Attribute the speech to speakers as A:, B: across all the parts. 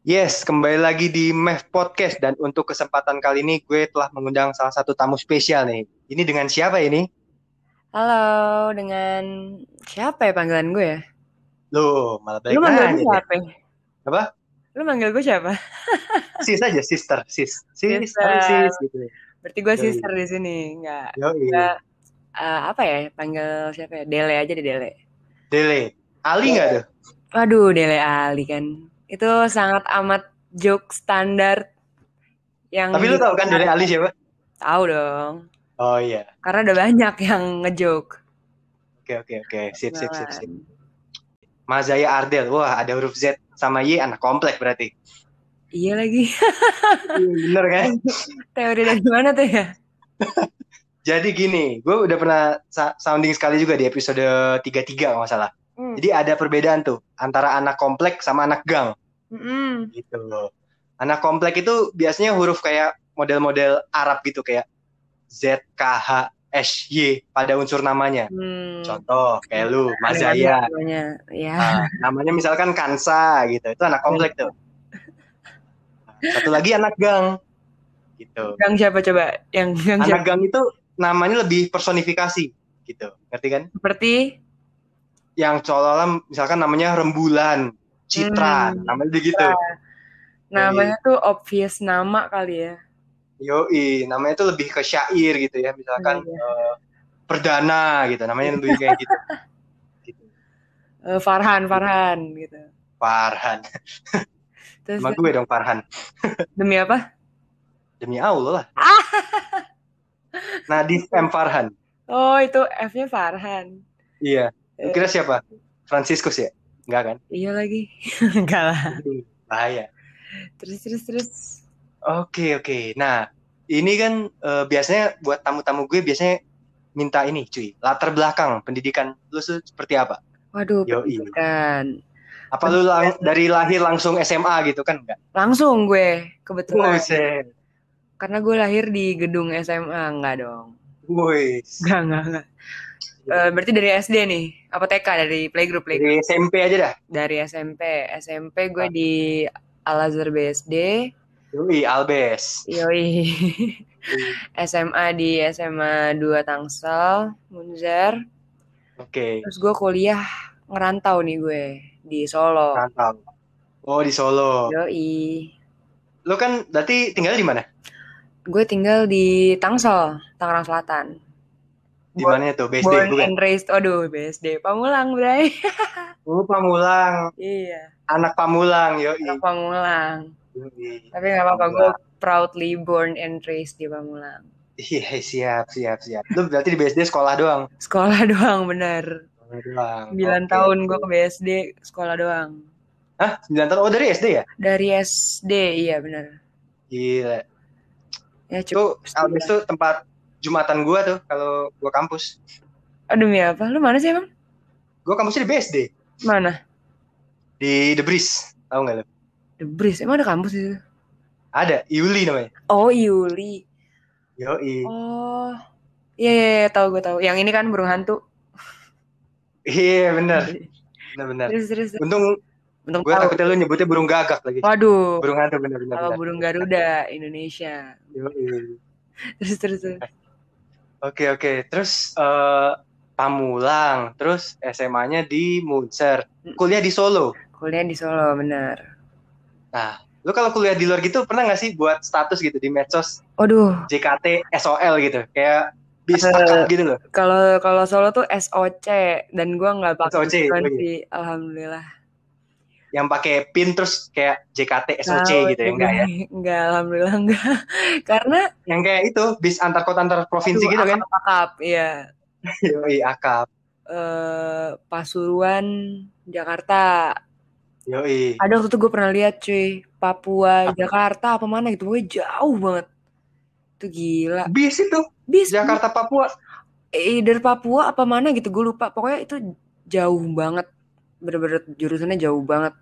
A: Yes, kembali lagi di MEF Podcast dan untuk kesempatan kali ini gue telah mengundang salah satu tamu spesial nih. Ini dengan siapa ini?
B: Halo, dengan siapa ya panggilan gue ya?
A: Loh, malah balik
B: Lu manggil gue
A: nanya deh.
B: siapa? ya?
A: Apa?
B: Lu manggil gue siapa?
A: Sis aja, sister, sis. Sis,
B: Sister.
A: halo sis gitu.
B: Berarti gue
A: Yoi.
B: sister di sini, enggak.
A: Yo,
B: Enggak. eh, apa ya? Panggil siapa ya? Dele aja di Dele.
A: Dele. Ali nggak tuh?
B: Waduh, Dele Ali kan. Itu sangat amat joke standar yang
A: Tapi lu tau kan Dele Ali siapa?
B: Tahu dong.
A: Oh iya.
B: Karena udah banyak yang ngejoke. Nah,
A: Oke, oke, oke. Sip, sip, sip, sip.
B: Beneran.
A: Mazaya Ardel. Wah, ada huruf Z sama Y anak komplek berarti.
B: Iya lagi.
A: Bener kan?
B: Teori dari mana tuh ya?
A: Jadi gini, gue udah pernah sa- sounding sekali juga di episode 33 kalau nggak salah.
B: Hmm.
A: Jadi ada perbedaan tuh antara anak komplek sama anak gang
B: Mm-mm.
A: gitu loh. Anak komplek itu biasanya huruf kayak model-model Arab gitu kayak Z, K, H, S, Y pada unsur namanya.
B: Hmm.
A: Contoh kayak lu,
B: Ada
A: Mazaya.
B: namanya. Ya.
A: Nah, namanya misalkan Kansa gitu. Itu anak komplek tuh. Satu lagi anak gang gitu.
B: Gang siapa coba? Yang gang siapa?
A: Anak gang itu namanya lebih personifikasi gitu. Ngerti kan?
B: Seperti
A: yang seolah-olah misalkan namanya rembulan, citra,
B: Hmm.
A: namanya gitu. begitu.
B: namanya tuh obvious nama kali ya.
A: Yoi, namanya itu lebih ke syair gitu ya, misalkan
B: Iya.
A: eh, perdana gitu, namanya lebih kayak gitu. gitu.
B: Eh, Farhan, Farhan gitu.
A: Farhan,
B: Terus
A: sama gue dong Farhan,
B: demi apa?
A: demi Allah lah. Nadif M Farhan,
B: Oh, itu F-nya Farhan.
A: iya. Lu
B: Eh,
A: kira siapa? Franciscus ya? Enggak kan?
B: Iya lagi. Enggak lah.
A: Bahaya.
B: Terus terus terus.
A: Oke oke. Nah ini kan eh, biasanya buat tamu-tamu gue biasanya minta ini cuy latar belakang pendidikan lu se- seperti apa?
B: Waduh,
A: Yoi.
B: pendidikan.
A: Apa lu lang- dari lahir langsung SMA gitu kan enggak?
B: Langsung gue kebetulan.
A: Buset.
B: Karena gue lahir di gedung SMA, enggak dong.
A: Woi.
B: Enggak, enggak, enggak. Eh, berarti dari SD nih, apa TK dari Ah. playgroup, playgroup.
A: Dari SMP aja dah.
B: Dari SMP, SMP gue di Al Azhar BSD,
A: Yoi Albes.
B: Yoi. SMA di SMA 2 Tangsel, Munzer.
A: Oke.
B: Terus gue kuliah ngerantau nih gue di Solo.
A: Rantau. Oh di Solo.
B: Yoi.
A: Lu kan berarti tinggal di mana?
B: Gue tinggal di Tangsel, Tangerang Selatan.
A: Di mana tuh? BSD
B: Born
A: bukan?
B: and raised, aduh BSD, Pamulang bray.
A: Lu Pamulang,
B: iya,
A: anak Pamulang,
B: anak
A: yoi.
B: Pamulang.
A: Yoi.
B: Tapi nggak apa-apa, gue proudly born and raised di Pamulang.
A: Iya, siap, siap, siap. Lu berarti di BSD sekolah doang.
B: Sekolah doang bener.
A: Sekolah doang.
B: 9
A: Oke.
B: tahun gue ke BSD, sekolah doang.
A: Hah? 9 tahun? Oh dari SD ya?
B: Dari SD, iya bener.
A: Gila.
B: Ya cukup.
A: Itu Albes tuh tempat Jumatan gua tuh kalau gua kampus.
B: Aduh demi apa? Lu mana sih emang?
A: Gua kampusnya di BSD.
B: Mana?
A: Di The Breeze. Tahu nggak lu?
B: The Breeze. Emang ada kampus di situ?
A: Ada. Iuli namanya.
B: Oh, Yuli.
A: Yoi.
B: Oh. Iya, iya, iya, tahu gue tahu. Yang ini kan burung hantu.
A: Iya bener. Bener bener.
B: Terus terus. terus.
A: Untung
B: Untung
A: gue
B: tahu.
A: takutnya lu nyebutnya burung gagak lagi.
B: Waduh.
A: Burung hantu bener bener.
B: Apa
A: bener.
B: burung Garuda Indonesia.
A: Yoi.
B: Terus terus. terus.
A: Oke oke. Terus eh, Pamulang. Terus SMA-nya di Munster. Kuliah di Solo.
B: Kuliah di Solo, bener.
A: Nah, lu kalau kuliah di luar gitu pernah nggak sih buat status gitu di medsos
B: Waduh,
A: JKT SOL gitu kayak bis
B: Eh.
A: akad gitu loh
B: kalau kalau Solo tuh SOC dan gua nggak
A: SOC,
B: pakai
A: lagi.
B: sih, alhamdulillah.
A: yang pakai pin terus kayak JKT SOC
B: Tahu
A: gitu
B: itu
A: ya enggak ya
B: gue. Enggak, alhamdulillah enggak. Karena
A: yang kayak itu bis antar kota antar provinsi
B: aduh,
A: gitu kan
B: akap-akap, iya.
A: yoi akap
B: eh Pasuruan, Jakarta.
A: yoi
B: Ada waktu itu gue pernah lihat cuy, Papua,
A: Apa?
B: Jakarta, apa mana gitu. Gue jauh banget. Itu gila.
A: bis itu
B: Bis
A: Jakarta Papua
B: eh, dari Papua apa mana gitu gue lupa. Pokoknya itu jauh banget. Bener-bener jurusannya jauh banget.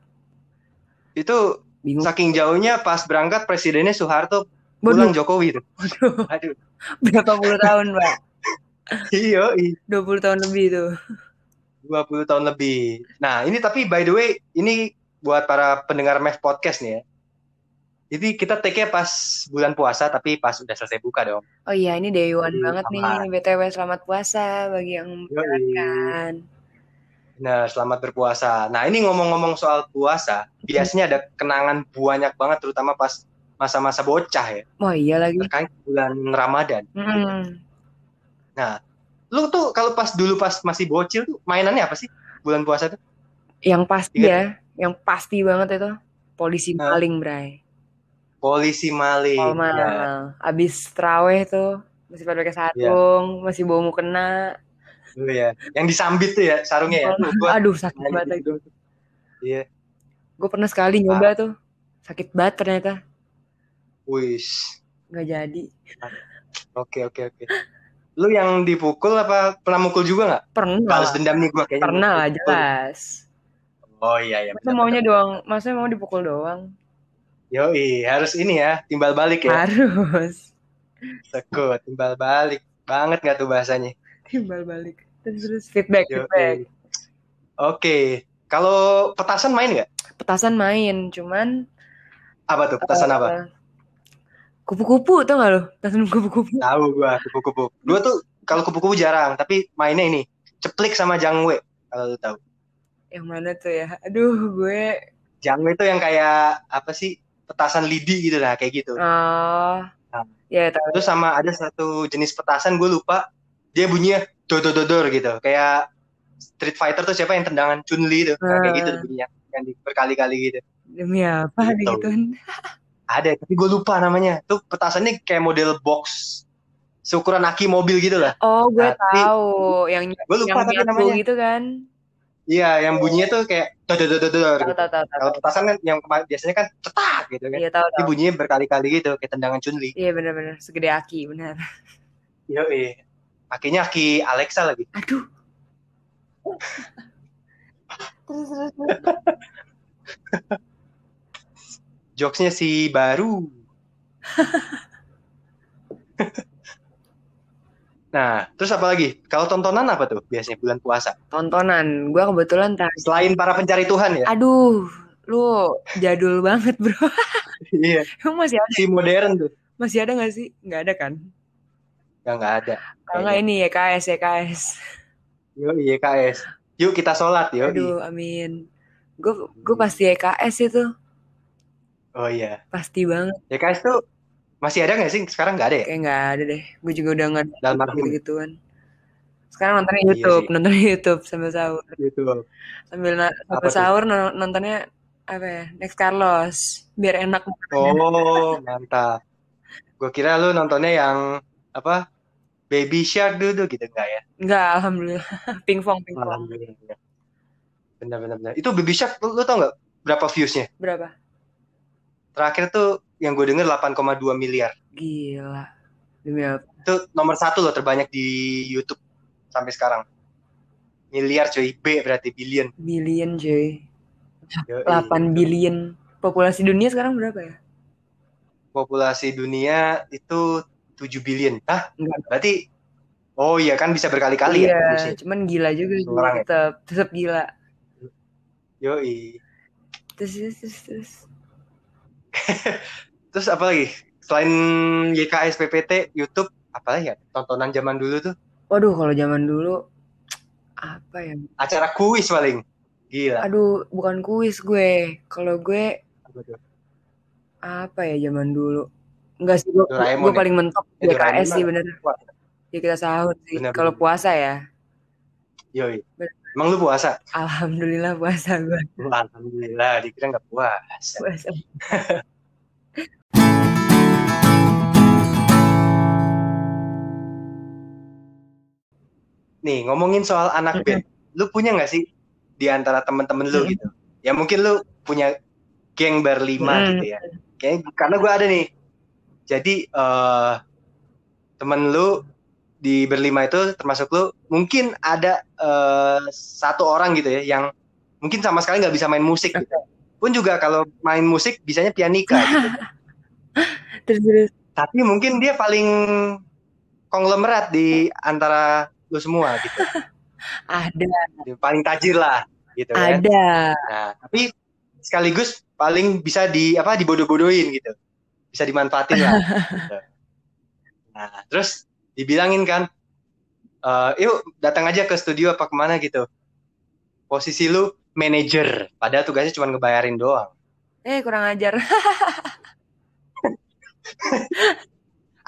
A: itu
B: Bingung.
A: saking jauhnya pas berangkat presidennya Soeharto
B: Waduh,
A: pulang Jokowi itu aduh
B: berapa puluh tahun, Pak?
A: yoi
B: 20 tahun lebih tuh.
A: 20 tahun lebih nah ini tapi by the way ini buat para pendengar Mev Podcast nih ya Jadi kita take-nya pas bulan puasa tapi pas udah selesai buka dong.
B: Oh iya, ini day one
A: Aduh,
B: banget nih.
A: aman.
B: BTW selamat puasa bagi yang kan. menjalankan.
A: Nah, selamat berpuasa. Nah, ini ngomong-ngomong soal puasa, biasanya ada kenangan banyak banget terutama pas masa-masa bocah ya,
B: Oh iya lagi.
A: terkait bulan Ramadan.
B: Mm-mm.
A: Lu tuh kalau pas dulu pas masih bocil tuh mainannya apa sih? Bulan puasa tuh?
B: Yang pasti
A: Ingat.
B: ya, yang pasti banget itu polisi
A: Iya. Nah.
B: maling, Bray.
A: Polisi maling.
B: Palma.
A: Nah,
B: Abis traweh tuh masih pada
A: Iya.
B: pakai sarung, masih bawa mukena.
A: dulu ya. Yang disambit tuh ya sarungnya ya. Tuh, gua
B: Aduh sakit
A: main
B: banget.
A: gitu. Iya.
B: Gue pernah
A: Ah.
B: sekali nyoba tuh. Sakit banget ternyata.
A: Wis.
B: Nggak jadi.
A: Oke, oke, oke. Lu yang dipukul apa pernah mukul juga nggak?
B: Pernah.
A: Balas dendam nih gua kayaknya.
B: Pernah lah
A: Mukul.
B: jelas.
A: Oh iya iya.
B: Masa maunya doang, masa mau dipukul doang?
A: Yoi, harus ini ya, timbal balik ya.
B: Harus.
A: Sekut, timbal balik. Banget gak tuh bahasanya?
B: Timbal balik. Terus, terus feedback,
A: Yoi.
B: feedback.
A: Oke, kalau petasan main nggak?
B: Petasan main, cuman
A: Apa tuh petasan apa?
B: eh, Kupu-kupu tau gak lo? Petasan kupu-kupu.
A: Tahu gua kupu-kupu. Gua tuh kalau kupu-kupu jarang, tapi mainnya ini ceplik sama jangwe. Kalau lu tahu.
B: Yang mana tuh ya? Aduh, gue
A: Jangwe itu yang kayak apa sih? Petasan lidi gitu lah, kayak gitu.
B: Oh.
A: Nah.
B: Ya, tahu.
A: Terus sama ada satu jenis petasan gue lupa. Dia bunyinya dodododor gitu. Kayak Street Fighter tuh siapa yang tendangan Chun-Li itu. Nah, kayak gitu tuh bunyinya. Yang di- berkali-kali gitu.
B: Demi apa kan?
A: Gitu.
B: digituin?
A: Ada, tapi gue lupa namanya. Tuh petasannya kayak model box seukuran aki mobil gitu lah.
B: Oh, gue
A: Tapi-
B: tahu yang
A: Gue lupa tapi
B: yang nyatu
A: namanya.
B: gitu kan.
A: Iya, yang bunyinya tuh kayak dodododor. Gitu.
B: Tahu tahu tahu tahu.
A: Kalau petasan kan yang kema- biasanya kan cetak gitu kan.
B: Iya, tahu
A: Ini
B: tahu.
A: bunyinya berkali-kali gitu kayak tendangan Chun-Li.
B: Iya, benar-benar segede aki, benar.
A: Iya, iya. Akinya aki Alexa lagi.
B: Aduh. terus terus. terus.
A: Jokesnya si baru. nah, terus apa lagi? Kalau tontonan apa tuh biasanya bulan puasa?
B: Tontonan, gue kebetulan tadi.
A: Selain para pencari Tuhan ya?
B: Aduh, lu jadul banget, Bro.
A: Iya,
B: Emang masih ada?
A: si modern tuh.
B: Masih ada gak sih? Nggak ada kan?
A: Ya nggak ada.
B: Kalau nggak ini ya KS ya KS.
A: Yo, YKS. Yuk kita sholat, yo.
B: Aduh, amin. Gue gue pasti EKS itu,
A: Oh iya.
B: pasti banget.
A: YKS tuh masih ada nggak sih? Sekarang nggak ada ya?
B: Kayak nggak ada deh. Gue juga udah nggak ada
A: Dalam
B: gitu
A: arti
B: gituan. Sekarang nontonnya
A: Iya
B: YouTube,
A: sih.
B: nontonnya YouTube sambil sahur,
A: gitu.
B: sambil na- sambil
A: tuh?
B: sahur no- nontonnya apa ya? Next Carlos, biar enak.
A: Oh, mantap. Gue kira lu nontonnya yang apa? Baby Shark dulu gitu enggak ya?
B: Enggak, alhamdulillah. Pingpong, pingpong.
A: Alhamdulillah. Benar benar benar. Itu Baby Shark lu, lu tau nggak berapa viewsnya?
B: Berapa?
A: Terakhir tuh yang gue denger 8,2 miliar.
B: Gila. Demi apa?
A: Itu nomor satu loh terbanyak di YouTube sampai sekarang. Miliar cuy, B berarti billion. iya.
B: Billion, cuy.
A: Yoi.
B: 8 billion. Populasi dunia sekarang berapa ya?
A: Populasi dunia itu 7 billion. Hah?
B: Enggak.
A: Berarti Oh iya kan bisa berkali-kali
B: iya,
A: ya viewsnya.
B: cuman gila juga sih,
A: Orang ya?
B: tetap tetap gila.
A: Yoi.
B: Terus terus terus. terus.
A: Terus apa lagi? Selain YKS PPT, YouTube, apa lagi ya? Tontonan zaman dulu tuh
B: Waduh, kalau zaman dulu apa ya?
A: acara kuis paling. Gila.
B: Aduh, bukan kuis gue. Kalau gue
A: Apa tuh?
B: apa ya zaman dulu? Enggak sih, gue,
A: Doraemon
B: gue
A: ya?
B: paling mentok
A: Ya, Doraemon
B: BKS sih
A: lah.
B: bener.
A: Puasa.
B: Ya kita sahur sih.
A: Bener,
B: Kalau
A: bener.
B: puasa ya,
A: Yoi.
B: Bener.
A: Emang lu puasa?
B: alhamdulillah puasa gue.
A: Lu Alhamdulillah, dikira nggak puasa.
B: Puasa.
A: Nih, ngomongin soal anak band. Lu punya nggak sih di antara temen-temen lu
B: Mm.
A: gitu? Ya mungkin lu punya geng berlima
B: Mm.
A: gitu ya. Kayaknya, karena gue ada nih. Jadi, eh temen lu di berlima itu termasuk lu mungkin ada eh, satu orang gitu ya yang mungkin sama sekali nggak bisa main musik gitu. Pun juga kalau main musik bisanya pianika gitu.
B: Terus terus.
A: tapi mungkin dia paling konglomerat di antara lu semua gitu
B: Ada,
A: paling tajir lah gitu kan
B: ada.
A: nah tapi sekaligus paling bisa di apa dibodoh-bodohin gitu. Bisa dimanfaatin lah. gitu. Nah, terus dibilangin kan eh yuk datang aja ke studio apa kemana gitu. Posisi lu manajer, padahal tugasnya cuma ngebayarin doang.
B: Eh kurang ajar.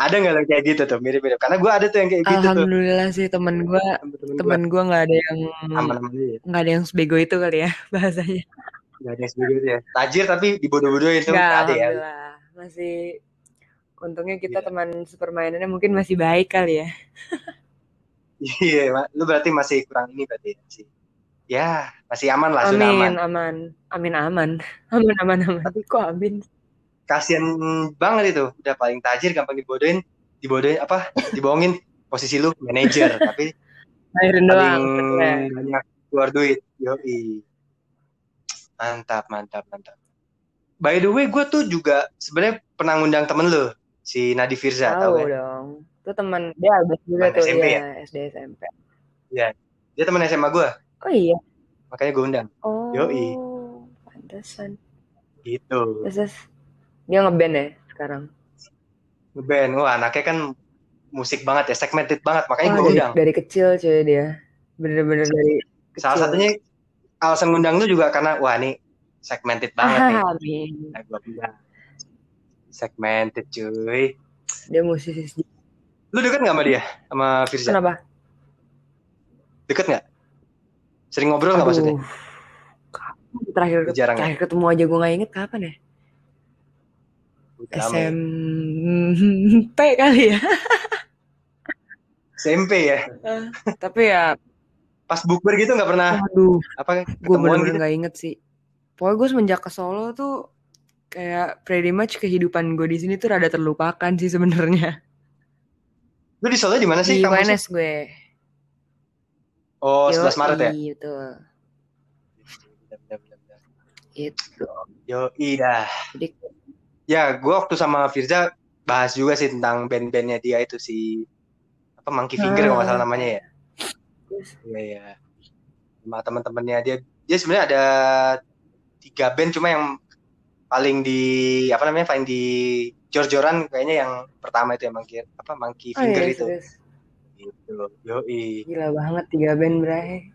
A: Ada nggak lo kayak gitu tuh mirip-mirip? Karena gue ada tuh yang kayak gitu tuh.
B: Alhamdulillah sih temen gue
A: Temen-temen gua.
B: temen gue nggak ada yang
A: aman-aman aja ya.
B: nggak ada yang sebego itu kali ya bahasanya.
A: Nggak ada yang sebegini itu ya. Tajir tapi dibodoh-bodohin tuh
B: Enggak,
A: nggak ada ya.
B: alhamdulillah masih untungnya kita
A: Iya.
B: teman sepermainannya mungkin masih baik kali ya.
A: Iya, Ma- lu berarti masih kurang ini berarti ya, sih. Ya, masih aman lah, zona aman.
B: Amin, aman. Amin, aman. Amin, aman, aman. Tapi kok amin?
A: Kasian banget itu, udah paling tajir gampang dibodohin, dibodohin apa? Dibohongin posisi lu manajer tapi
B: Bayarin doang. bener.
A: paling banyak keluar duit. Yoi. Mantap, mantap, mantap. By the way, gue tuh juga sebenarnya pernah ngundang temen lu, si Nadi Firza,
B: Tahu
A: tau kan?
B: dong. Itu teman dia abis juga
A: Teman
B: tuh
A: SMP
B: ya, SD SMP.
A: Dia temen SMA gue,
B: Oh iya.
A: makanya gue undang.
B: Oh.
A: Yoi.
B: Pantesan.
A: Gitu.
B: Terus terus dia ngeband ya sekarang.
A: Ngeband, wah anaknya kan musik banget ya, segmented banget, makanya
B: Wah, iya.
A: gue
B: dari,
A: undang.
B: dari kecil cuy dia. Bener-bener dari kecil.
A: Salah satunya alasan ngundang lu juga karena wah nih segmented banget nih.
B: Ah, amin.
A: Nah, gua bilang. Segmented cuy.
B: Dia musisi sejati.
A: Lu deket gak sama dia? Sama Firza?
B: Kenapa?
A: Deket gak? Sering ngobrol gak maksudnya?
B: Aduh. Kapan terakhir
A: ya? Jarang ya?
B: terakhir ketemu aja gue nggak inget kapan ya?
A: Udah lama ya.
B: SMP kali ya.
A: SMP ya?
B: Tapi ya,
A: Pas bukber gitu gak pernah
B: aduh,
A: apa ketemuan
B: gue bener-bener
A: gitu?
B: nggak inget sih. Pokoknya gue semenjak ke Solo tuh kayak pretty much kehidupan gue di sini tuh rada terlupakan sih sebenarnya.
A: Lu di Solo di mana sih?
B: Di
A: kampusnya?
B: UNS gue.
A: Oh, 11 Maret ya?
B: Gitu. Gitu.
A: Yo, iya.
B: Jadi
A: Ya, gua waktu sama Firza bahas juga sih tentang band-bandnya dia itu si apa Monkey Finger kalau nggak
B: Ah.
A: salah namanya ya. Iya ya. Sama teman-temannya dia dia sebenarnya ada tiga band cuma yang paling di apa namanya paling di jor-joran kayaknya yang pertama itu yang monkey apa monkey
B: oh, iya,
A: finger itu
B: serius.
A: gitu yoi
B: Gila banget tiga band bray.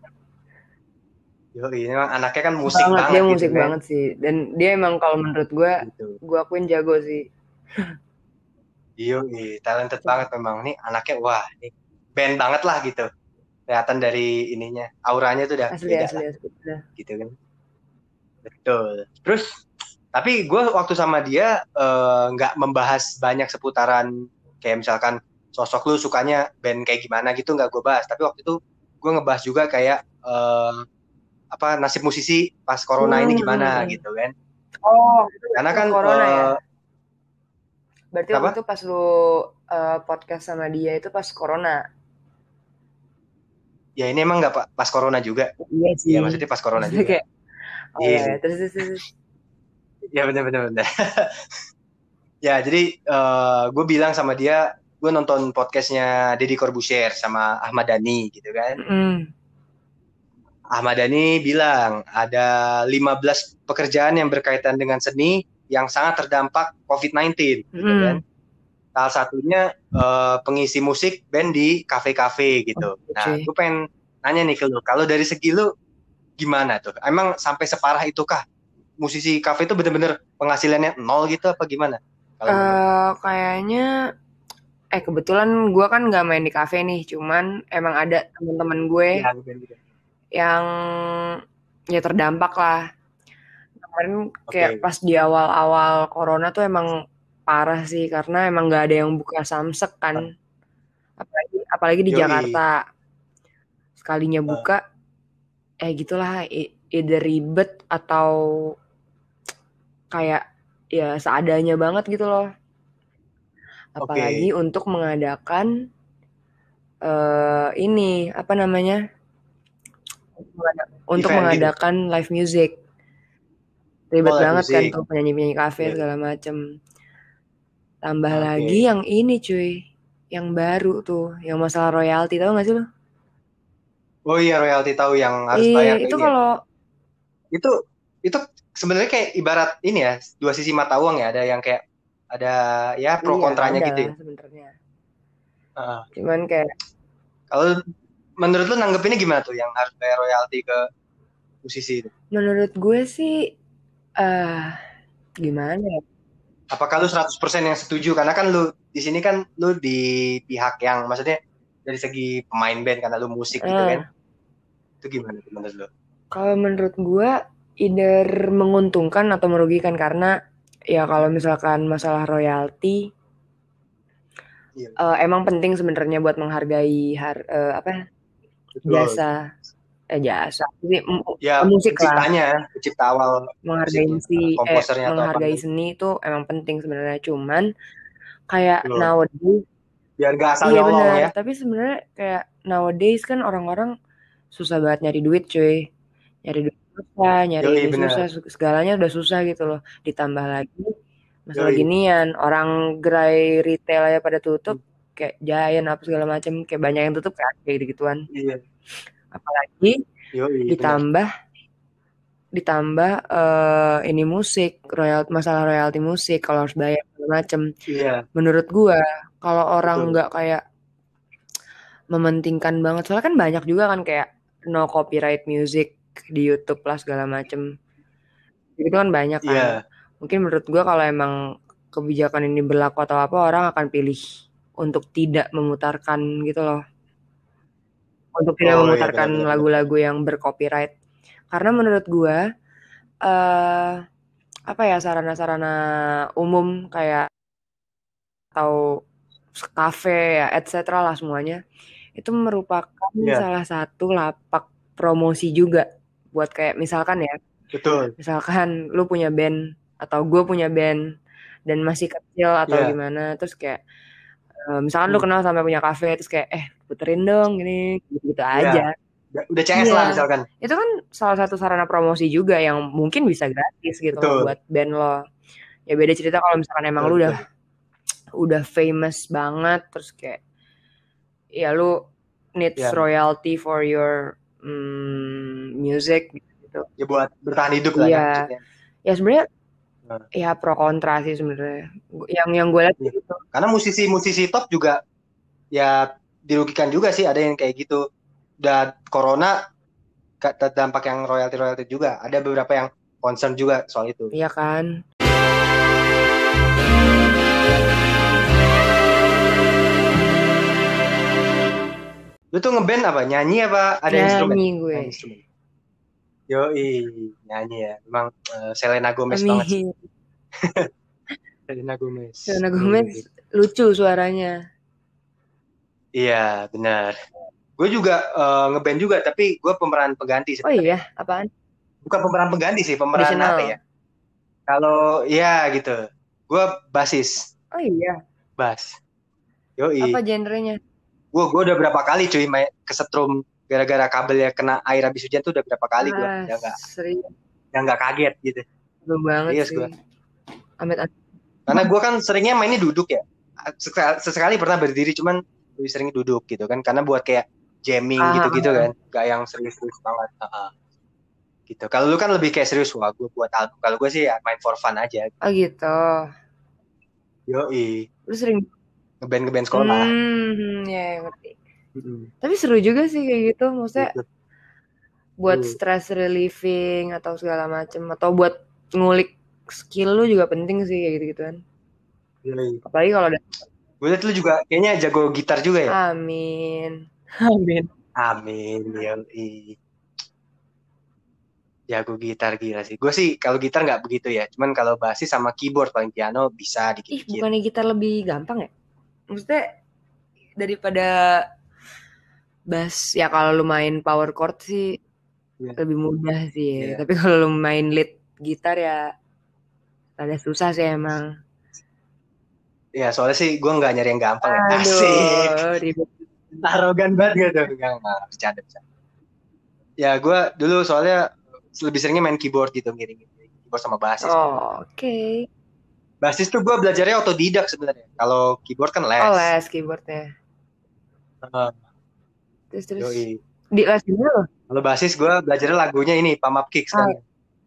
A: yoi memang anaknya kan musik
B: banget,
A: banget,
B: dia
A: gitu,
B: musik
A: kan.
B: banget sih. Dan dia emang kalau menurut gue,
A: gitu
B: gue akuin jago sih.
A: yoi talented
B: Iya.
A: banget memang nih anaknya wah ini band banget lah gitu kelihatan dari ininya auranya tuh udah
B: Asli,
A: beda
B: asli,
A: lah
B: asli. Udah.
A: gitu kan betul terus tapi gue waktu sama dia eh, nggak membahas banyak seputaran kayak misalkan sosok lu sukanya band kayak gimana gitu nggak gue bahas tapi waktu itu gue ngebahas juga kayak eh, apa nasib musisi pas corona ini gimana
B: Hmm.
A: gitu kan
B: Oh,
A: karena kan
B: Corona ya?
A: eh,
B: Berarti
A: Kenapa?
B: waktu itu pas lu eh, podcast sama dia itu pas corona.
A: ya ini emang nggak pa- pas corona juga ya
B: Iya
A: maksudnya pas corona juga
B: Kayak, oh
A: Iya.
B: iya, terus terus terus.
A: Ya benar benar benar. ya jadi gue bilang sama dia gue nonton podcastnya Deddy Corbuzier sama Ahmad Dhani gitu kan.
B: Mm.
A: Ahmad Dhani bilang ada 15 pekerjaan yang berkaitan dengan seni yang sangat terdampak COVID-19 gitu
B: Hmm.
A: kan. Salah satunya eh, pengisi musik band di kafe-kafe gitu.
B: Oh,
A: Nah,
B: cuy.
A: gue pengen nanya nih ke lu, kalau dari segi lu gimana tuh? Emang sampai separah itukah musisi kafe itu bener-bener penghasilannya nol gitu apa gimana? Kalau menurut
B: Eh, kayaknya eh kebetulan gue kan nggak main di kafe nih, cuman emang ada teman-teman gue
A: lu? Ya, lu pengen gitu.
B: yang ya terdampak lah. Kemarin kayak
A: Oke.
B: pas di awal-awal corona tuh emang parah sih karena emang nggak ada yang buka samsek kan. Apalagi apalagi
A: Ah.
B: di
A: Yoi. Ah.
B: Jakarta. Sekalinya buka eh gitulah e- either ribet atau kayak ya seadanya banget gitu loh. Apalagi untuk mengadakan eh ini apa namanya? mengada- untuk
A: Event gitu.
B: mengadakan live music.
A: Oh,
B: Ribet
A: live
B: banget kan
A: music.
B: tuh penyanyi-penyanyi kafe
A: Iya.
B: segala macem. Tambah
A: Oke.
B: lagi yang ini cuy, yang baru tuh, yang masalah royalti tahu gak sih lo?
A: Oh iya royalti tahu yang harus
B: Iya,
A: bayar ke
B: itu
A: ini ya.
B: kalau
A: Itu itu sebenarnya kayak ibarat ini ya dua sisi mata uang ya ada yang kayak ada ya pro
B: Iya,
A: kontranya
B: ada
A: gitu ya.
B: sebenarnya.
A: Heeh.
B: Cuman kayak
A: kalau menurut lu nanggepinnya gimana tuh yang harus bayar royalti ke musisi itu
B: menurut gue sih eh gimana ya?
A: apakah lu 100% yang setuju karena kan lu di sini kan lu di pihak yang maksudnya dari segi pemain band karena lu musik gitu
B: Eh.
A: kan itu gimana tuh menurut lu
B: Kalau menurut gue, either menguntungkan atau merugikan karena ya kalau misalkan masalah royalti
A: Iya.
B: eh, emang penting sebenarnya buat menghargai har eh, apa jasa eh jasa Jadi, m-
A: ya
B: musik lah.
A: penciptanya pencipta awal
B: menghargai
A: Musik,
B: seni eh,
A: Iya, komposernya atau
B: menghargai
A: apa. gitu.
B: seni itu emang penting sebenarnya cuman kayak
A: Betul.
B: nowadays
A: biar gak asal
B: iya
A: nyolong
B: benar
A: ya
B: tapi sebenarnya kayak nowadays kan orang-orang susah banget nyari duit cuy nyari duit susah nyari
A: Yoi,
B: ini
A: benar.
B: susah su- segalanya udah susah gitu loh ditambah lagi masalah
A: Yoi.
B: ginian orang gerai retail aja pada tutup
A: Hmm.
B: kayak Giant apa segala macam kayak banyak yang tutup kan kayak gitu gituan
A: iya
B: apalagi
A: yoi, benar.
B: ditambah ditambah eh, ini musik royal masalah royalti musik kalau harus bayar segala macem
A: iya
B: menurut gua kalau
A: Betul.
B: orang nggak kayak mementingkan banget soalnya kan banyak juga kan kayak no copyright music di YouTube lah segala macem itu kan banyak kan
A: iya
B: mungkin menurut gua kalau emang kebijakan ini berlaku atau apa orang akan pilih untuk tidak memutarkan gitu loh untuk tidak
A: Oh, iya,
B: memutarkan
A: benar-benar.
B: lagu-lagu yang bercopyright karena menurut gua eh apa ya sarana-sarana umum kayak atau kafe ya etc lah semuanya itu merupakan
A: Iya.
B: salah satu lapak promosi juga buat kayak misalkan ya
A: betul
B: misalkan lu punya band atau gue punya band dan masih kecil atau
A: Iya. Hmm.
B: gimana terus kayak eh, misalkan lu kenal sama punya kafe terus kayak eh puterin dong gini gitu
A: Iya.
B: aja
A: Udah- udah CS
B: Iya.
A: lah misalkan
B: itu kan salah satu sarana promosi juga yang mungkin bisa gratis gitu loh
A: Betul.
B: buat band lo ya beda cerita kalau misalkan emang lu
A: Betul,
B: udah udah famous banget terus kayak ya lu needs
A: Iya.
B: royalty for your mm, music
A: ya buat bertahan hidup lah
B: Iya.
A: ya maksudnya.
B: ya sebenarnya
A: Nah.
B: ya pro kontra sih sebenarnya Gu- yang yang gue lihat
A: Iya.
B: gitu
A: karena musisi-musisi top juga ya dirugikan juga sih ada yang kayak gitu dan corona kata dampak yang royalti royalti juga ada beberapa yang concern juga soal itu
B: ya kan
A: lu tuh ngeband apa nyanyi apa ada instrumen
B: nyanyi gue
A: Ada instrumen yoi nyanyi ya emang eh, Selena Gomez banget sih.
B: Amin.
A: Selena Gomez
B: Selena Gomez lucu suaranya
A: iya benar gue juga eh, ngeband juga tapi gue pemeran pengganti
B: oh iya apaan
A: bukan pemeran pengganti sih pemeran
B: Additional.
A: apa ya kalau ya gitu gue basis
B: oh iya
A: Bas. Yoi.
B: apa genrenya
A: Gue gue udah berapa kali cuy main kesetrum gara-gara kabelnya kena air habis hujan tuh udah berapa kali gue
B: Ah,
A: ya nggak
B: serius
A: ya nggak kaget gitu.
B: Seru banget
A: Serius
B: sih.
A: gua.
B: Amit amit.
A: Karena gue kan seringnya mainnya duduk ya. Sekal- Sesekali pernah berdiri cuman lebih sering duduk gitu kan karena buat kayak jamming
B: Ah,
A: gitu-gitu kan. Gak yang serius-serius banget. Heeh. Gitu. Kalau lu kan lebih kayak serius wah gue buat album. Kalau gue sih ya main for fun aja.
B: Oh gitu.
A: Yoi.
B: Lu sering
A: Ngeband ngeband sekolah.
B: Hmm, ya, ya, ngerti.
A: Mm-mm.
B: Tapi seru juga sih kayak gitu. Maksudnya
A: Gitu.
B: buat
A: Hmm.
B: stress relieving atau segala macem atau buat ngulik skill lu juga penting sih kayak gitu gituan.
A: Yoi.
B: Apalagi kalau ada
A: Gue iya, liat lu juga kayaknya jago gitar juga
B: Ah.
A: ya.
B: amin. Amin.
A: Amin, yoi. Jago gitar gila sih. Gue sih kalau gitar nggak begitu ya. Cuman kalau basis sama keyboard paling piano bisa
B: Ih,
A: dikit-dikit.
B: bukannya gitar lebih gampang ya? Maksudnya daripada bass ya kalau lu main power chord sih
A: Iya.
B: lebih mudah sih ya.
A: Iya.
B: Tapi kalau lu main lead gitar ya rada susah sih emang.
A: Ya soalnya sih gue nggak nyari yang gampang ya. Asik.
B: Aduh, ribet.
A: Arogan banget gitu. Enggak, enggak. Bercanda, bercanda. Ya gue dulu soalnya lebih seringnya main keyboard gitu. Ngiringin keyboard sama basis.
B: Oh, Oke.
A: Basis tuh gue belajarnya otodidak sebenarnya. Kalau keyboard kan les.
B: Oh, les keyboardnya.
A: Heeh,
B: Terus terus
A: Ah. yoi.
B: di les dulu.
A: Kalau basis gue belajarnya lagunya ini Pump Up Kicks kan.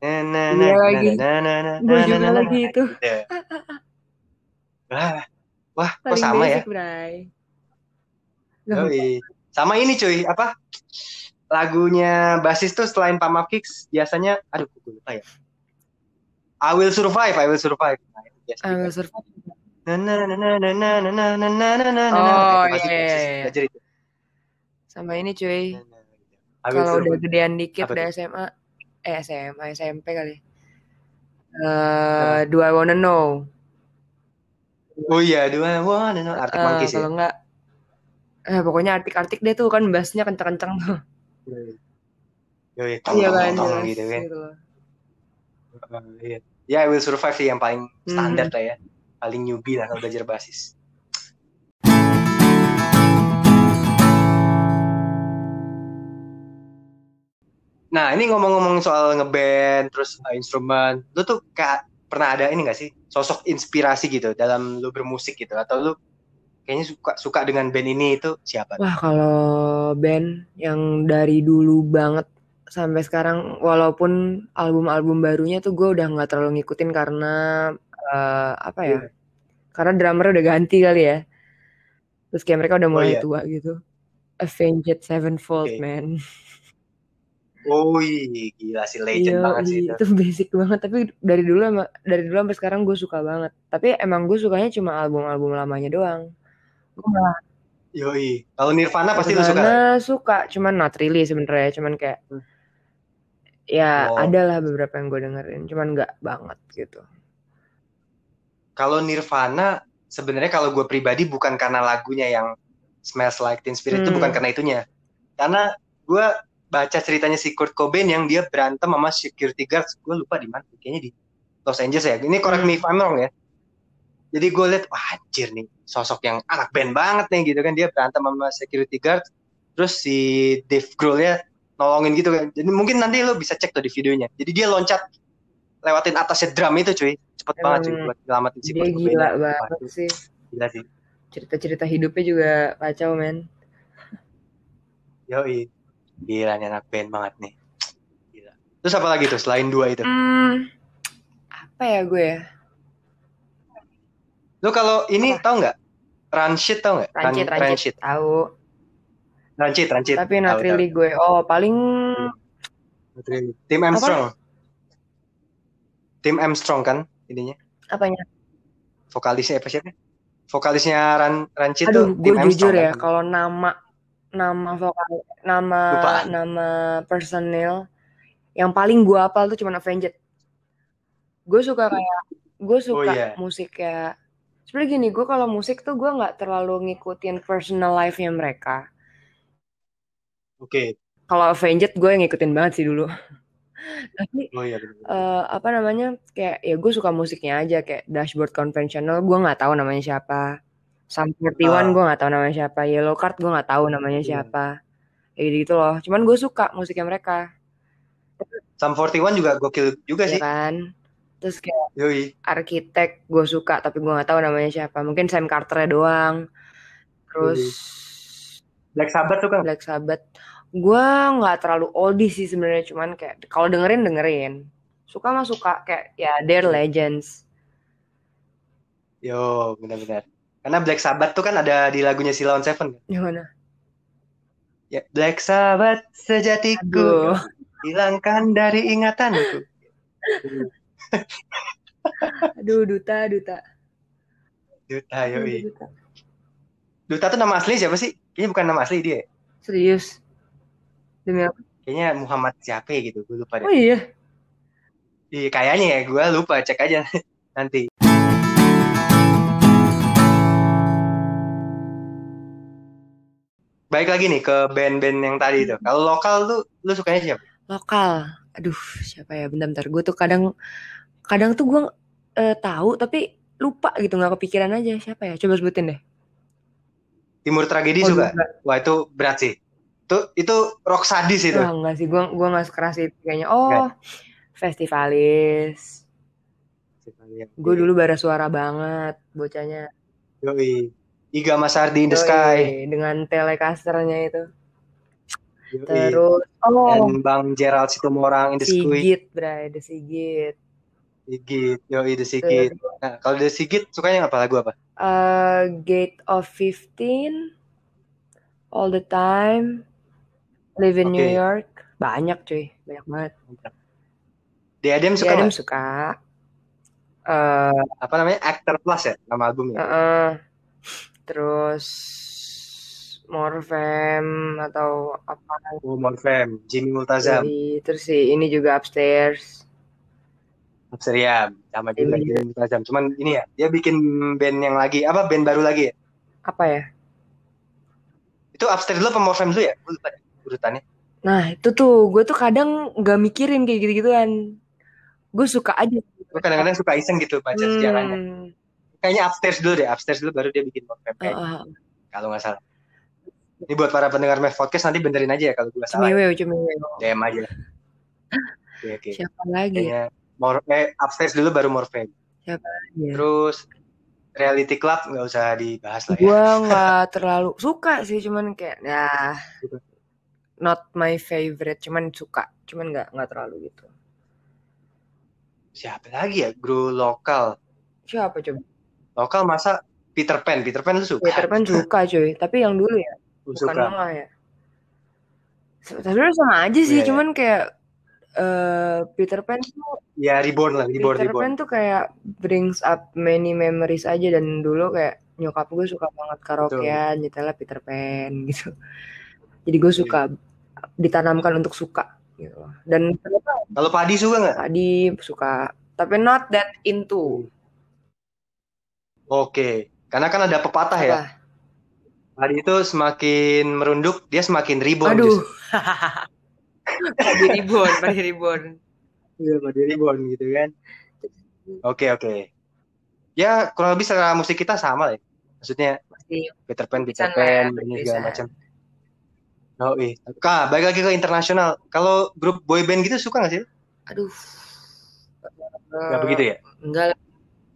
A: Na, na, na,
B: Ah. Iya
A: na,
B: lagi.
A: na, na, na, na, na,
B: Gue
A: na,
B: juga
A: na,
B: lagi
A: na.
B: itu.
A: Gitu. Wah, wah, kok
B: Paling
A: sama ya?
B: basic, Bray. Gak
A: Yoi. Sama ini cuy, apa? Lagunya basis tuh selain Pump Up Kicks, biasanya, aduh gue lupa ya. I Will Survive, I Will Survive. Nah, itu biasa.
B: I will survive.
A: Na, na, na, na, na, na, na, na, na, na, na, na, na.
B: Oh,
A: Itu pasti basis.
B: iya, iya, iya.
A: Belajar itu.
B: Sama ini cuy.
A: Na, na, na, gitu. I Will
B: Kalau udah
A: Survive.
B: gedean dikit
A: Apa
B: udah SMA, eh SMA, SMP kali. Eh, do I wanna know?
A: Oh iya, dua, wah, no, Arctic
B: Eh,
A: Monkeys ya.
B: kalau enggak eh pokoknya artik-artik deh tuh kan bassnya kenceng-kenceng tuh.
A: Yoi, tong,
B: Iya
A: tong,
B: kan,
A: tong, tong,
B: jelas
A: gitu kan.
B: gitu loh.
A: Uh, Iya, ya I Will Survive sih yang paling standar lah ya, paling newbie lah kalau belajar basis. Nah ini ngomong-ngomong soal ngeband terus uh, instrumen, lu tuh kayak pernah ada ini gak sih sosok inspirasi gitu dalam lu bermusik gitu atau lu kayaknya suka suka dengan band ini itu siapa?
B: Wah, kalau band yang dari dulu banget sampai sekarang walaupun album-album barunya tuh gue udah nggak terlalu ngikutin karena eh, apa
A: Iya.
B: ya? Karena drummer udah ganti kali ya. Terus kayak mereka udah
A: Oh,
B: mulai
A: iya.
B: tua gitu. Avenged
A: Oke.
B: Sevenfold, man.
A: Oh iya, gila sih legend
B: Iya,
A: banget sih
B: iya,
A: itu.
B: itu basic banget tapi dari dulu sama- dari dulu sampai sekarang gue suka banget. Tapi emang gue sukanya cuma album-album lamanya doang. Gue malah
A: Yoi, kalau Nirvana pasti lu suka. kan?
B: Nirvana suka, cuman not really sebenarnya, cuman kayak
A: Hmm.
B: ya
A: Oh.
B: ada lah beberapa yang gue dengerin, cuman nggak banget gitu.
A: kalau Nirvana sebenarnya kalau gue pribadi bukan karena lagunya yang Smells Like Teen Spirit itu
B: Hmm.
A: bukan karena itunya. Karena gue baca ceritanya si Kurt Cobain yang dia berantem sama security guards. Gue lupa di mana, kayaknya di Los Angeles ya. Ini correct me if I'm wrong ya. Jadi gue liat, wah anjir nih sosok yang anak band banget nih gitu kan. Dia berantem sama security guard. Terus si Dave Grohl-nya nolongin gitu kan. Jadi mungkin nanti lo bisa cek tuh di videonya. Jadi dia loncat lewatin atasnya drum itu cuy. Cepet banget cuy
B: Emang
A: buat nyelamatin si
B: Dia
A: Kurt Cobain.
B: gila
A: Wah,
B: banget
A: itu
B: sih.
A: Gila sih.
B: Cerita-cerita hidupnya juga kacau, men.
A: Yoi. Gila nih anak band banget nih. Gila. Terus apa lagi tuh selain dua itu?
B: Hmm, apa ya gue ya?
A: Lu kalau ini
B: Apa?
A: tau nggak? Rancid tau nggak?
B: Rancid,
A: Ran-
B: rancid, tahu.
A: Rancid, Rancid.
B: Tapi
A: Tahu,
B: not
A: Hmm.
B: really gue. Oh, paling
A: tahu. Not really. Tim Armstrong. Tim Armstrong kan ininya.
B: apanya?
A: Vokalisnya apa siapa? Vokalisnya Ran Rancid
B: Aduh,
A: tuh
B: gue
A: Tim
B: jujur
A: Armstrong
B: ya,
A: kan?
B: kalau nama nama vokal, nama
A: Lupa.
B: nama personil yang paling gue hafal tuh cuma Avenged. Gue suka kayak gue suka
A: iya.
B: musik ya. Sebenernya gini, gue kalau musik tuh gue nggak terlalu ngikutin personal life-nya mereka.
A: Oke.
B: Kalau Avenged gue yang ngikutin banget sih dulu. Tapi
A: Oh iya. bener-bener.
B: eh apa namanya kayak ya gue suka musiknya aja kayak dashboard konvensional gue nggak tahu namanya siapa Sum 41
A: Ah.
B: gue nggak tahu namanya siapa yellow card gue nggak tahu namanya
A: Iya.
B: siapa kayak gitu, gitu loh cuman gue suka musiknya mereka
A: Sum 41 juga gokil juga
B: ya
A: Iya sih.
B: kan terus kayak
A: Yoi.
B: arsitek gue suka tapi gue nggak tahu namanya siapa mungkin Sam Carter doang terus
A: Black Sabbath tuh kan.
B: Black Sabbath gue nggak terlalu oldie sih sebenarnya cuman kayak kalau dengerin dengerin suka mah suka kayak ya They're Legends
A: Yo, benar-benar. Karena Black Sabbath tuh kan ada di lagunya si Lawn Seven. kan?
B: gimana
A: Ya, Black Sabbath sejatiku.
B: Aduh.
A: Hilangkan dari ingatanku.
B: Aduh, duta, duta.
A: Duta,
B: Aduh,
A: yoi.
B: duta.
A: Duta tuh nama asli siapa sih? Kayaknya bukan nama asli dia. ya.
B: Serius. Demi apa?
A: Kayaknya Muhammad siapa ya gitu. Gue lupa deh.
B: Oh iya.
A: Iya, kayaknya ya. Gue lupa. Cek aja nanti. Baik lagi nih ke band-band yang tadi itu. Kalau lokal lu, lu sukanya siapa?
B: Lokal. Aduh, siapa ya? Bentar, bentar. Gue tuh kadang kadang tuh gue eh, tahu tapi lupa gitu nggak kepikiran aja siapa ya coba sebutin deh
A: Timur Tragedi
B: Oh,
A: suka?
B: duta.
A: Wah itu berat sih. Itu, itu rock sadis itu.
B: Wah, enggak sih gue gua nggak sekeras itu kayaknya oh festivalis gue
A: Iya.
B: dulu bara suara banget bocahnya
A: Yoi. Iga Masardi in the
B: Yoi,
A: Sky.
B: dengan telecasternya itu Terus oh
A: Dan Bang Gerald Situmorang in the Squid.
B: Sigit, Bray, The Sigit.
A: Sigit. Yoi, The Sigit. Nah, kalau The Sigit sukanya yang apa lagu apa?
B: Eh, Gate of 15 All the Time Live in
A: Oke.
B: New York. Banyak cuy, banyak banget.
A: The Adam
B: Suka
A: suka
B: Adam
A: nggak?
B: suka. Eh,
A: Apa namanya? Actor Plus ya nama albumnya.
B: eh, terus Morfem atau apa
A: Woman Fam, Oh, Jimmy Multazam,
B: Jadi, terus si ini juga upstairs.
A: Seriam, sama juga
B: Iya.
A: Jimmy Multazam. Cuman ini ya, dia bikin band yang lagi, apa band baru lagi ya?
B: Apa ya?
A: Itu Upstairs dulu apa More Fam dulu ya? Gue lupa deh urutannya.
B: Nah itu tuh gue tuh kadang nggak mikirin kayak gitu-gituan. Gue suka aja.
A: Gue kadang-kadang suka iseng gitu baca sejarahnya.
B: Hmm,
A: Kayaknya Upstairs dulu deh, Upstairs dulu baru dia bikin More Fam.
B: eh,
A: kayaknya,
B: eh,
A: Kalau nggak salah. Ini buat para pendengar Mev Podcast nanti benerin aja ya kalau gue salah.
B: Cemeweo, cemeweo.
A: DM aja. Oke, oke.
B: Siapa lagi?
A: Kayaknya more, eh, upstairs dulu baru Morfem.
B: Ya?
A: Terus reality club nggak usah dibahas lah ya.
B: Gue nggak terlalu suka sih, cuman kayak ya not my favorite, cuman suka, cuman nggak nggak terlalu gitu.
A: Siapa lagi ya? Guru lokal.
B: Siapa coba?
A: Lokal masa Peter Pan. Peter Pan lu suka?
B: Peter Pan suka cuy, tapi yang dulu ya,
A: Lu
B: bukan
A: suka.
B: manga ya. Se- Sebenarnya sama aja sih,
A: Iya, iya.
B: cuman kayak eh Peter Pan tuh
A: Ya reborn lah, reborn,
B: Peter
A: reborn.
B: Pan tuh kayak brings up many memories aja dan dulu kayak nyokap gue suka banget karaokean nyetelnya Peter Pan gitu. Jadi gue
A: Iya.
B: suka ditanamkan untuk suka gitu. loh. Dan ternyata
A: Kalau Padi suka nggak?
B: tadi suka tapi not that into
A: Oke. Karena kan ada pepatah ya.
B: Apa?
A: Padi itu semakin merunduk, dia semakin reborn.
B: Aduh.
A: justru.
B: Padi Reborn, Padi Reborn.
A: Iya, Padi reborn gitu kan. Oke, oke. Ya kurang lebih secara musik kita sama lah ya. Maksudnya
B: Pasti
A: Peter Pan, Peter
B: Perpisahan
A: Pan,
B: lah, ya,
A: ini
B: perpisahan.
A: segala macam. Oh iya. Kak, balik lagi ke internasional. Kalau grup boy band gitu suka
B: Eh.
A: nggak sih?
B: aduh. Eh,
A: Nggak begitu ya?
B: Enggak lah.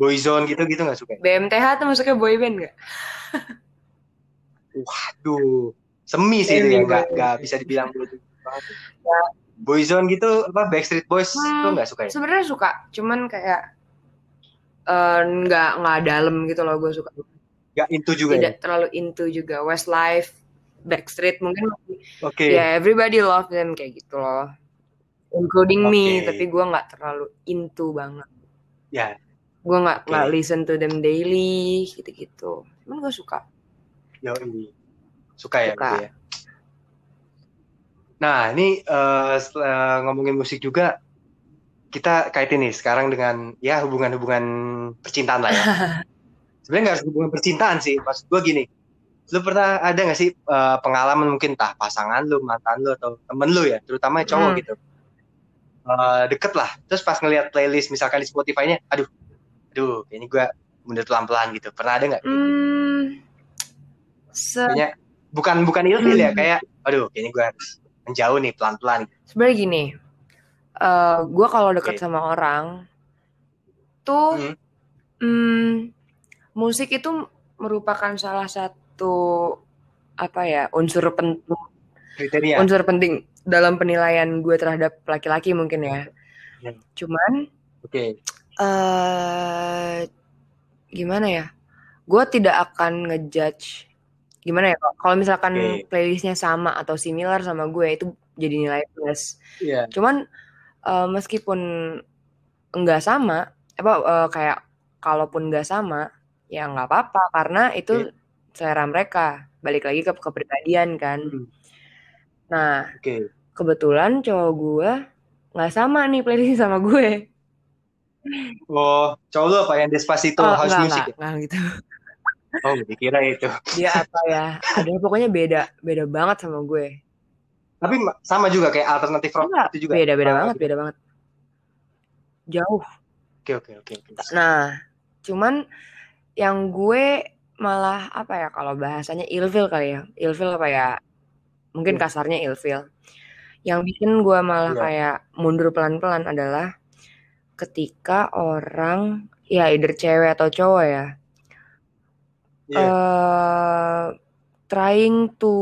A: Boyzone gitu gitu nggak suka? ya?
B: BMTH tuh masuknya boyband enggak?
A: Aduh, semi sih itu ya.
B: Semi,
A: Nggak
B: boy.
A: nggak bisa dibilang boyzone banget. Boyzone gitu apa Backstreet Boys
B: Ya. Hmm.
A: itu nggak suka ya?
B: Sebenarnya suka, cuman kayak eh, nggak nggak dalam gitu loh gue suka.
A: Nggak into juga ya?
B: Tidak terlalu into juga Westlife, Backstreet mungkin
A: Oke.
B: ya everybody love them kayak gitu loh. Including me,
A: Oke.
B: tapi gue nggak terlalu into banget.
A: Ya,
B: Gue nggak
A: Oke.
B: nggak listen to them daily gitu-gitu. Cuman gue suka.
A: yoi. Suka ya gitu
B: Suka.
A: ya. Nah, ini eh, setelah ngomongin musik juga kita kaitin nih sekarang dengan ya hubungan-hubungan percintaan lah ya. Sebenarnya nggak harus hubungan percintaan sih, maksud gue gini. Lu pernah ada nggak sih eh, pengalaman mungkin entah pasangan lu, mantan lu atau temen lu ya, terutama cowok
B: Hmm.
A: gitu. Eh, deket lah. Terus pas ngelihat playlist misalkan di Spotify-nya, aduh, aduh, ini gue mundur pelan-pelan gitu. Pernah ada nggak?
B: Hmm, se
A: Kayaknya bukan bukan ilfil ya,
B: Hmm.
A: kayak aduh, kayaknya gue harus menjauh nih pelan-pelan.
B: sebenarnya gini, eh gue kalau deket
A: Oke.
B: sama orang tuh
A: Hmm.
B: Hmm, musik itu merupakan salah satu apa ya unsur penting
A: Kriteria.
B: unsur penting dalam penilaian gue terhadap laki-laki mungkin ya.
A: Hmm.
B: Cuman
A: Oke.
B: eh gimana ya? Gue tidak akan ngejudge gimana ya Kak? kalau misalkan
A: Oke.
B: playlistnya sama atau similar sama gue itu jadi nilai plus.
A: Iya.
B: Cuman eh, meskipun nggak sama, apa eh, kayak kalaupun nggak sama, ya nggak apa-apa karena itu selera mereka. Balik lagi ke kepribadian kan.
A: Hmm,
B: Nah
A: Oke.
B: kebetulan cowok gue nggak sama nih playlist sama gue.
A: Oh, cowok lu apa yang Despacito
B: Oh,
A: house
B: nggak,
A: music?
B: nggak, nggak gitu.
A: ya? Oh, dikira itu.
B: Dia apa ya? Ada pokoknya beda, beda banget sama gue.
A: Tapi ma- sama juga kayak alternatif rock
B: Enggak,
A: itu juga.
B: beda, beda
A: Ah,
B: banget,
A: gitu.
B: beda banget. Jauh.
A: Oke, oke, oke. oke.
B: Nah, cuman yang gue malah apa ya kalau bahasanya ilfil kali ya. Ilfil apa ya? Mungkin
A: Iya.
B: kasarnya ilfil. Yang bikin gue malah
A: Iya.
B: kayak mundur pelan-pelan adalah ketika orang ya either cewek atau cowok ya.
A: Iya.
B: eh, trying to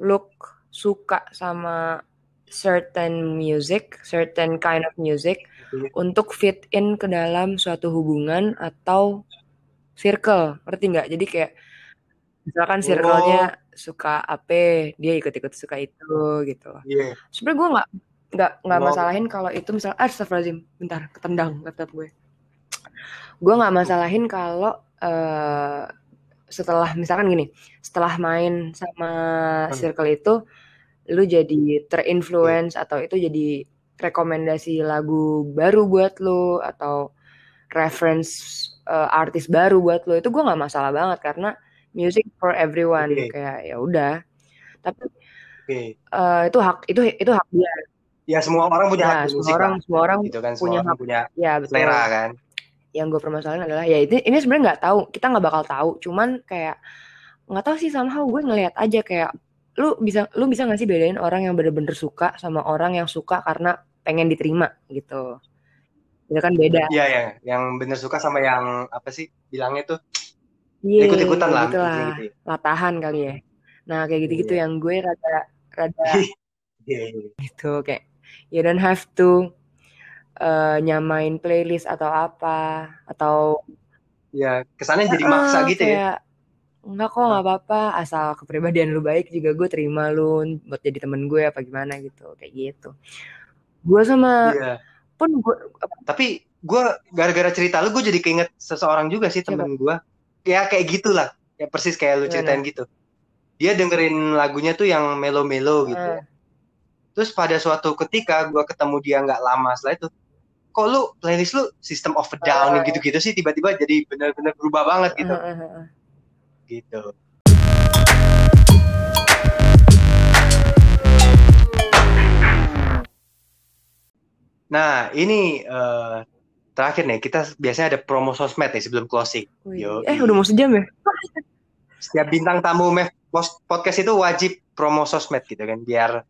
B: look suka sama certain music, certain kind of music untuk fit in ke dalam suatu hubungan atau circle, ngerti nggak? Jadi kayak misalkan circle-nya suka AP, dia ikut-ikut suka itu gitu.
A: Iya.
B: Sebenarnya gue nggak nggak nggak
A: Wow.
B: masalahin kalau itu misal ah, Astagfirullahaladzim, bentar ketendang laptop gue. Gue nggak masalahin kalau eh, setelah misalkan gini, setelah main sama
A: Hmm.
B: circle itu, lu jadi terinfluence atau itu jadi rekomendasi lagu baru buat lu atau reference eh, artis baru buat lu itu gue nggak masalah banget karena music for everyone
A: Oke.
B: kayak ya udah tapi
A: Oke.
B: eh, itu hak itu itu hak dia
A: Ya semua orang punya
B: Nah,
A: hak
B: semua
A: musik
B: orang
A: lah.
B: semua orang
A: gitu kan. Semua
B: punya
A: orang punya
B: ya betul
A: selera kan.
B: yang gue permasalahin adalah ya ini ini sebenarnya nggak tahu kita nggak bakal tahu cuman kayak nggak tahu sih somehow gue ngelihat aja kayak lu bisa lu bisa nggak sih bedain orang yang bener-bener suka sama orang yang suka karena pengen diterima gitu itu kan beda
A: Iya ya, yang bener suka sama yang apa sih bilangnya tuh
B: Yeay,
A: ikut-ikutan lah,
B: gitu lah.
A: gitu.
B: latahan kali ya nah kayak gitu-gitu yang gue rada rada
A: Iya, iya.
B: gitu kayak you don't have to eh, nyamain playlist atau apa atau
A: Iya, kesannya jadi maksa
B: Ah,
A: gitu ya.
B: kayak, Enggak kok nggak apa-apa asal kepribadian lu baik juga gue terima lu buat jadi temen gue apa gimana gitu kayak gitu. Gue sama
A: Iya.
B: pun gue
A: Tapi gue gara-gara cerita lu gue jadi keinget seseorang juga sih
B: Siapa?
A: temen gue. Ya kayak gitulah, ya persis kayak lu
B: Gimana?
A: ceritain gitu. Dia dengerin lagunya tuh yang melo-melo gitu.
B: Ah.
A: Terus pada suatu ketika gue ketemu dia nggak lama setelah itu, kok lu playlist lu System of a Down
B: Ah.
A: gitu-gitu sih tiba-tiba jadi bener-bener berubah banget gitu.
B: Ah, ah, ah.
A: Gitu. Nah, ini eh, terakhir nih kita biasanya ada promo sosmed nih sebelum closing.
B: Wih.
A: Yoi.
B: Eh udah mau sejam ya?
A: Setiap bintang tamu Mev Pos- podcast itu wajib promo sosmed gitu kan biar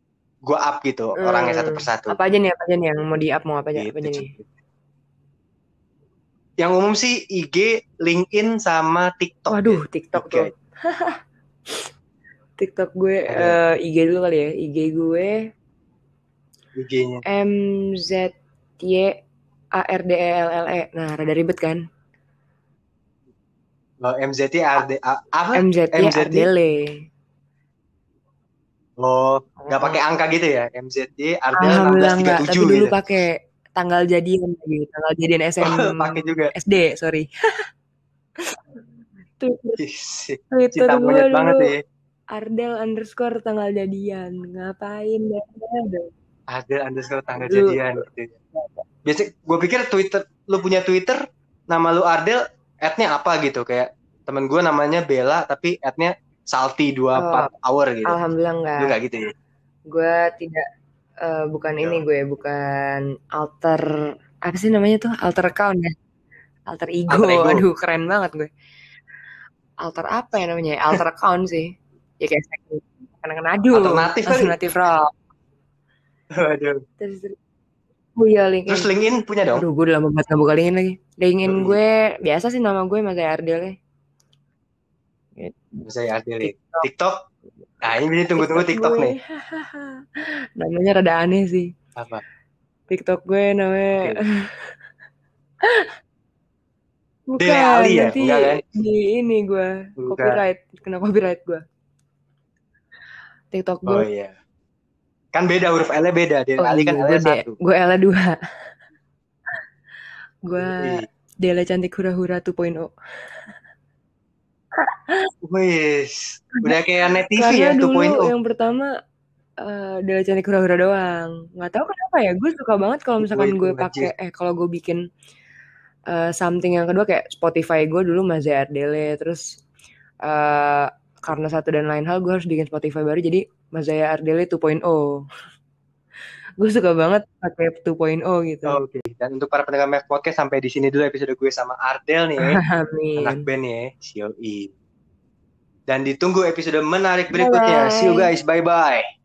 A: gua up gitu
B: Hmm.
A: orangnya satu persatu.
B: Apa aja nih apa aja nih yang mau di up mau apa aja apa aja
A: Gitu.
B: nih?
A: Yang umum sih IG, LinkedIn sama TikTok. ya, Gitu,
B: Waduh Oh, TikTok
A: Oke.
B: tuh. TikTok gue
A: Ada.
B: eh, IG dulu kali ya IG gue
A: IG-nya.
B: M Z Y A R D E L L E. Nah rada ribet kan?
A: Oh, MZT RD A- apa?
B: M Z Y R D L E.
A: Oh, nggak pakai angka gitu ya. MZT Ardel
B: Alhamdulillah enggak, tapi
A: 1637
B: dulu
A: gitu.
B: pakai tanggal jadian lagi, tanggal jadian SM
A: Oh, pakai juga.
B: SD, sorry. Twitter,
A: Ih, si-
B: Twitter
A: Cinta
B: gue
A: monyet banget
B: dulu
A: ya.
B: Ardel underscore tanggal jadian Ngapain ya?
A: Ardel underscore tanggal
B: Dulu.
A: jadian gitu. Biasa gue pikir Twitter lu punya Twitter nama lu Ardel ad-nya apa gitu kayak temen gue namanya Bella tapi ad-nya Salty 24 hour gitu.
B: Oh. Alhamdulillah
A: Lu
B: enggak
A: nggak gitu ya?
B: Gue tidak eh, Bukan
A: Ya.
B: ini gue Bukan alter Apa sih namanya tuh? Alter account ya? Alter ego,
A: Alter ego.
B: Aduh keren banget gue Alter apa ya namanya? Alter account sih Ya kayak Kenangan aduh
A: Alternatif kali.
B: Alternatif rock
A: Waduh.
B: Terus terus. Oh iya LinkedIn.
A: Terus LinkedIn punya dong?
B: Aduh, gue udah lama banget gak buka LinkedIn lagi. LinkedIn
A: Hmm.
B: gue biasa sih nama gue Mas Ardel ya.
A: Bisa ya Ardel. ya. TikTok. Nah, ini tunggu-tunggu TikTok
B: gue.
A: nih.
B: Namanya rada aneh sih.
A: Apa?
B: TikTok gue namanya Bukan,
A: Dele Ali ya?
B: nanti
A: Enggak kan?
B: di ini gue
A: Bukan.
B: copyright, kena copyright gue. TikTok gue,
A: Oh iya. Kan beda huruf L-nya beda. Dari
B: oh,
A: Ali kan
B: iya,
A: L-nya
B: gue,
A: satu.
B: D- gue L dua. gue
A: Wih.
B: Dela cantik hura-hura 2.0.
A: Wis. Udah kayak net TV ya 2.0.
B: Karena dulu yang pertama eh Dela Cantik Hura-Hura doang. Nggak tahu kenapa ya, gue suka banget kalau misalkan
A: 2.0
B: gue
A: aja.
B: pakai eh kalau gue bikin eh, something yang kedua kayak Spotify gue dulu Maze Ardele terus eh karena satu dan lain hal gue harus bikin Spotify baru jadi Mazaya Ardele 2.0. gue suka banget pakai 2.0 gitu.
A: Oh, Oke. Dan untuk para pendengar Mev Podcast sampai di sini dulu episode gue sama Ardel nih. ya. Anak
B: Amin.
A: band ya. COI. Dan ditunggu episode menarik berikutnya. See you guys. Bye-bye.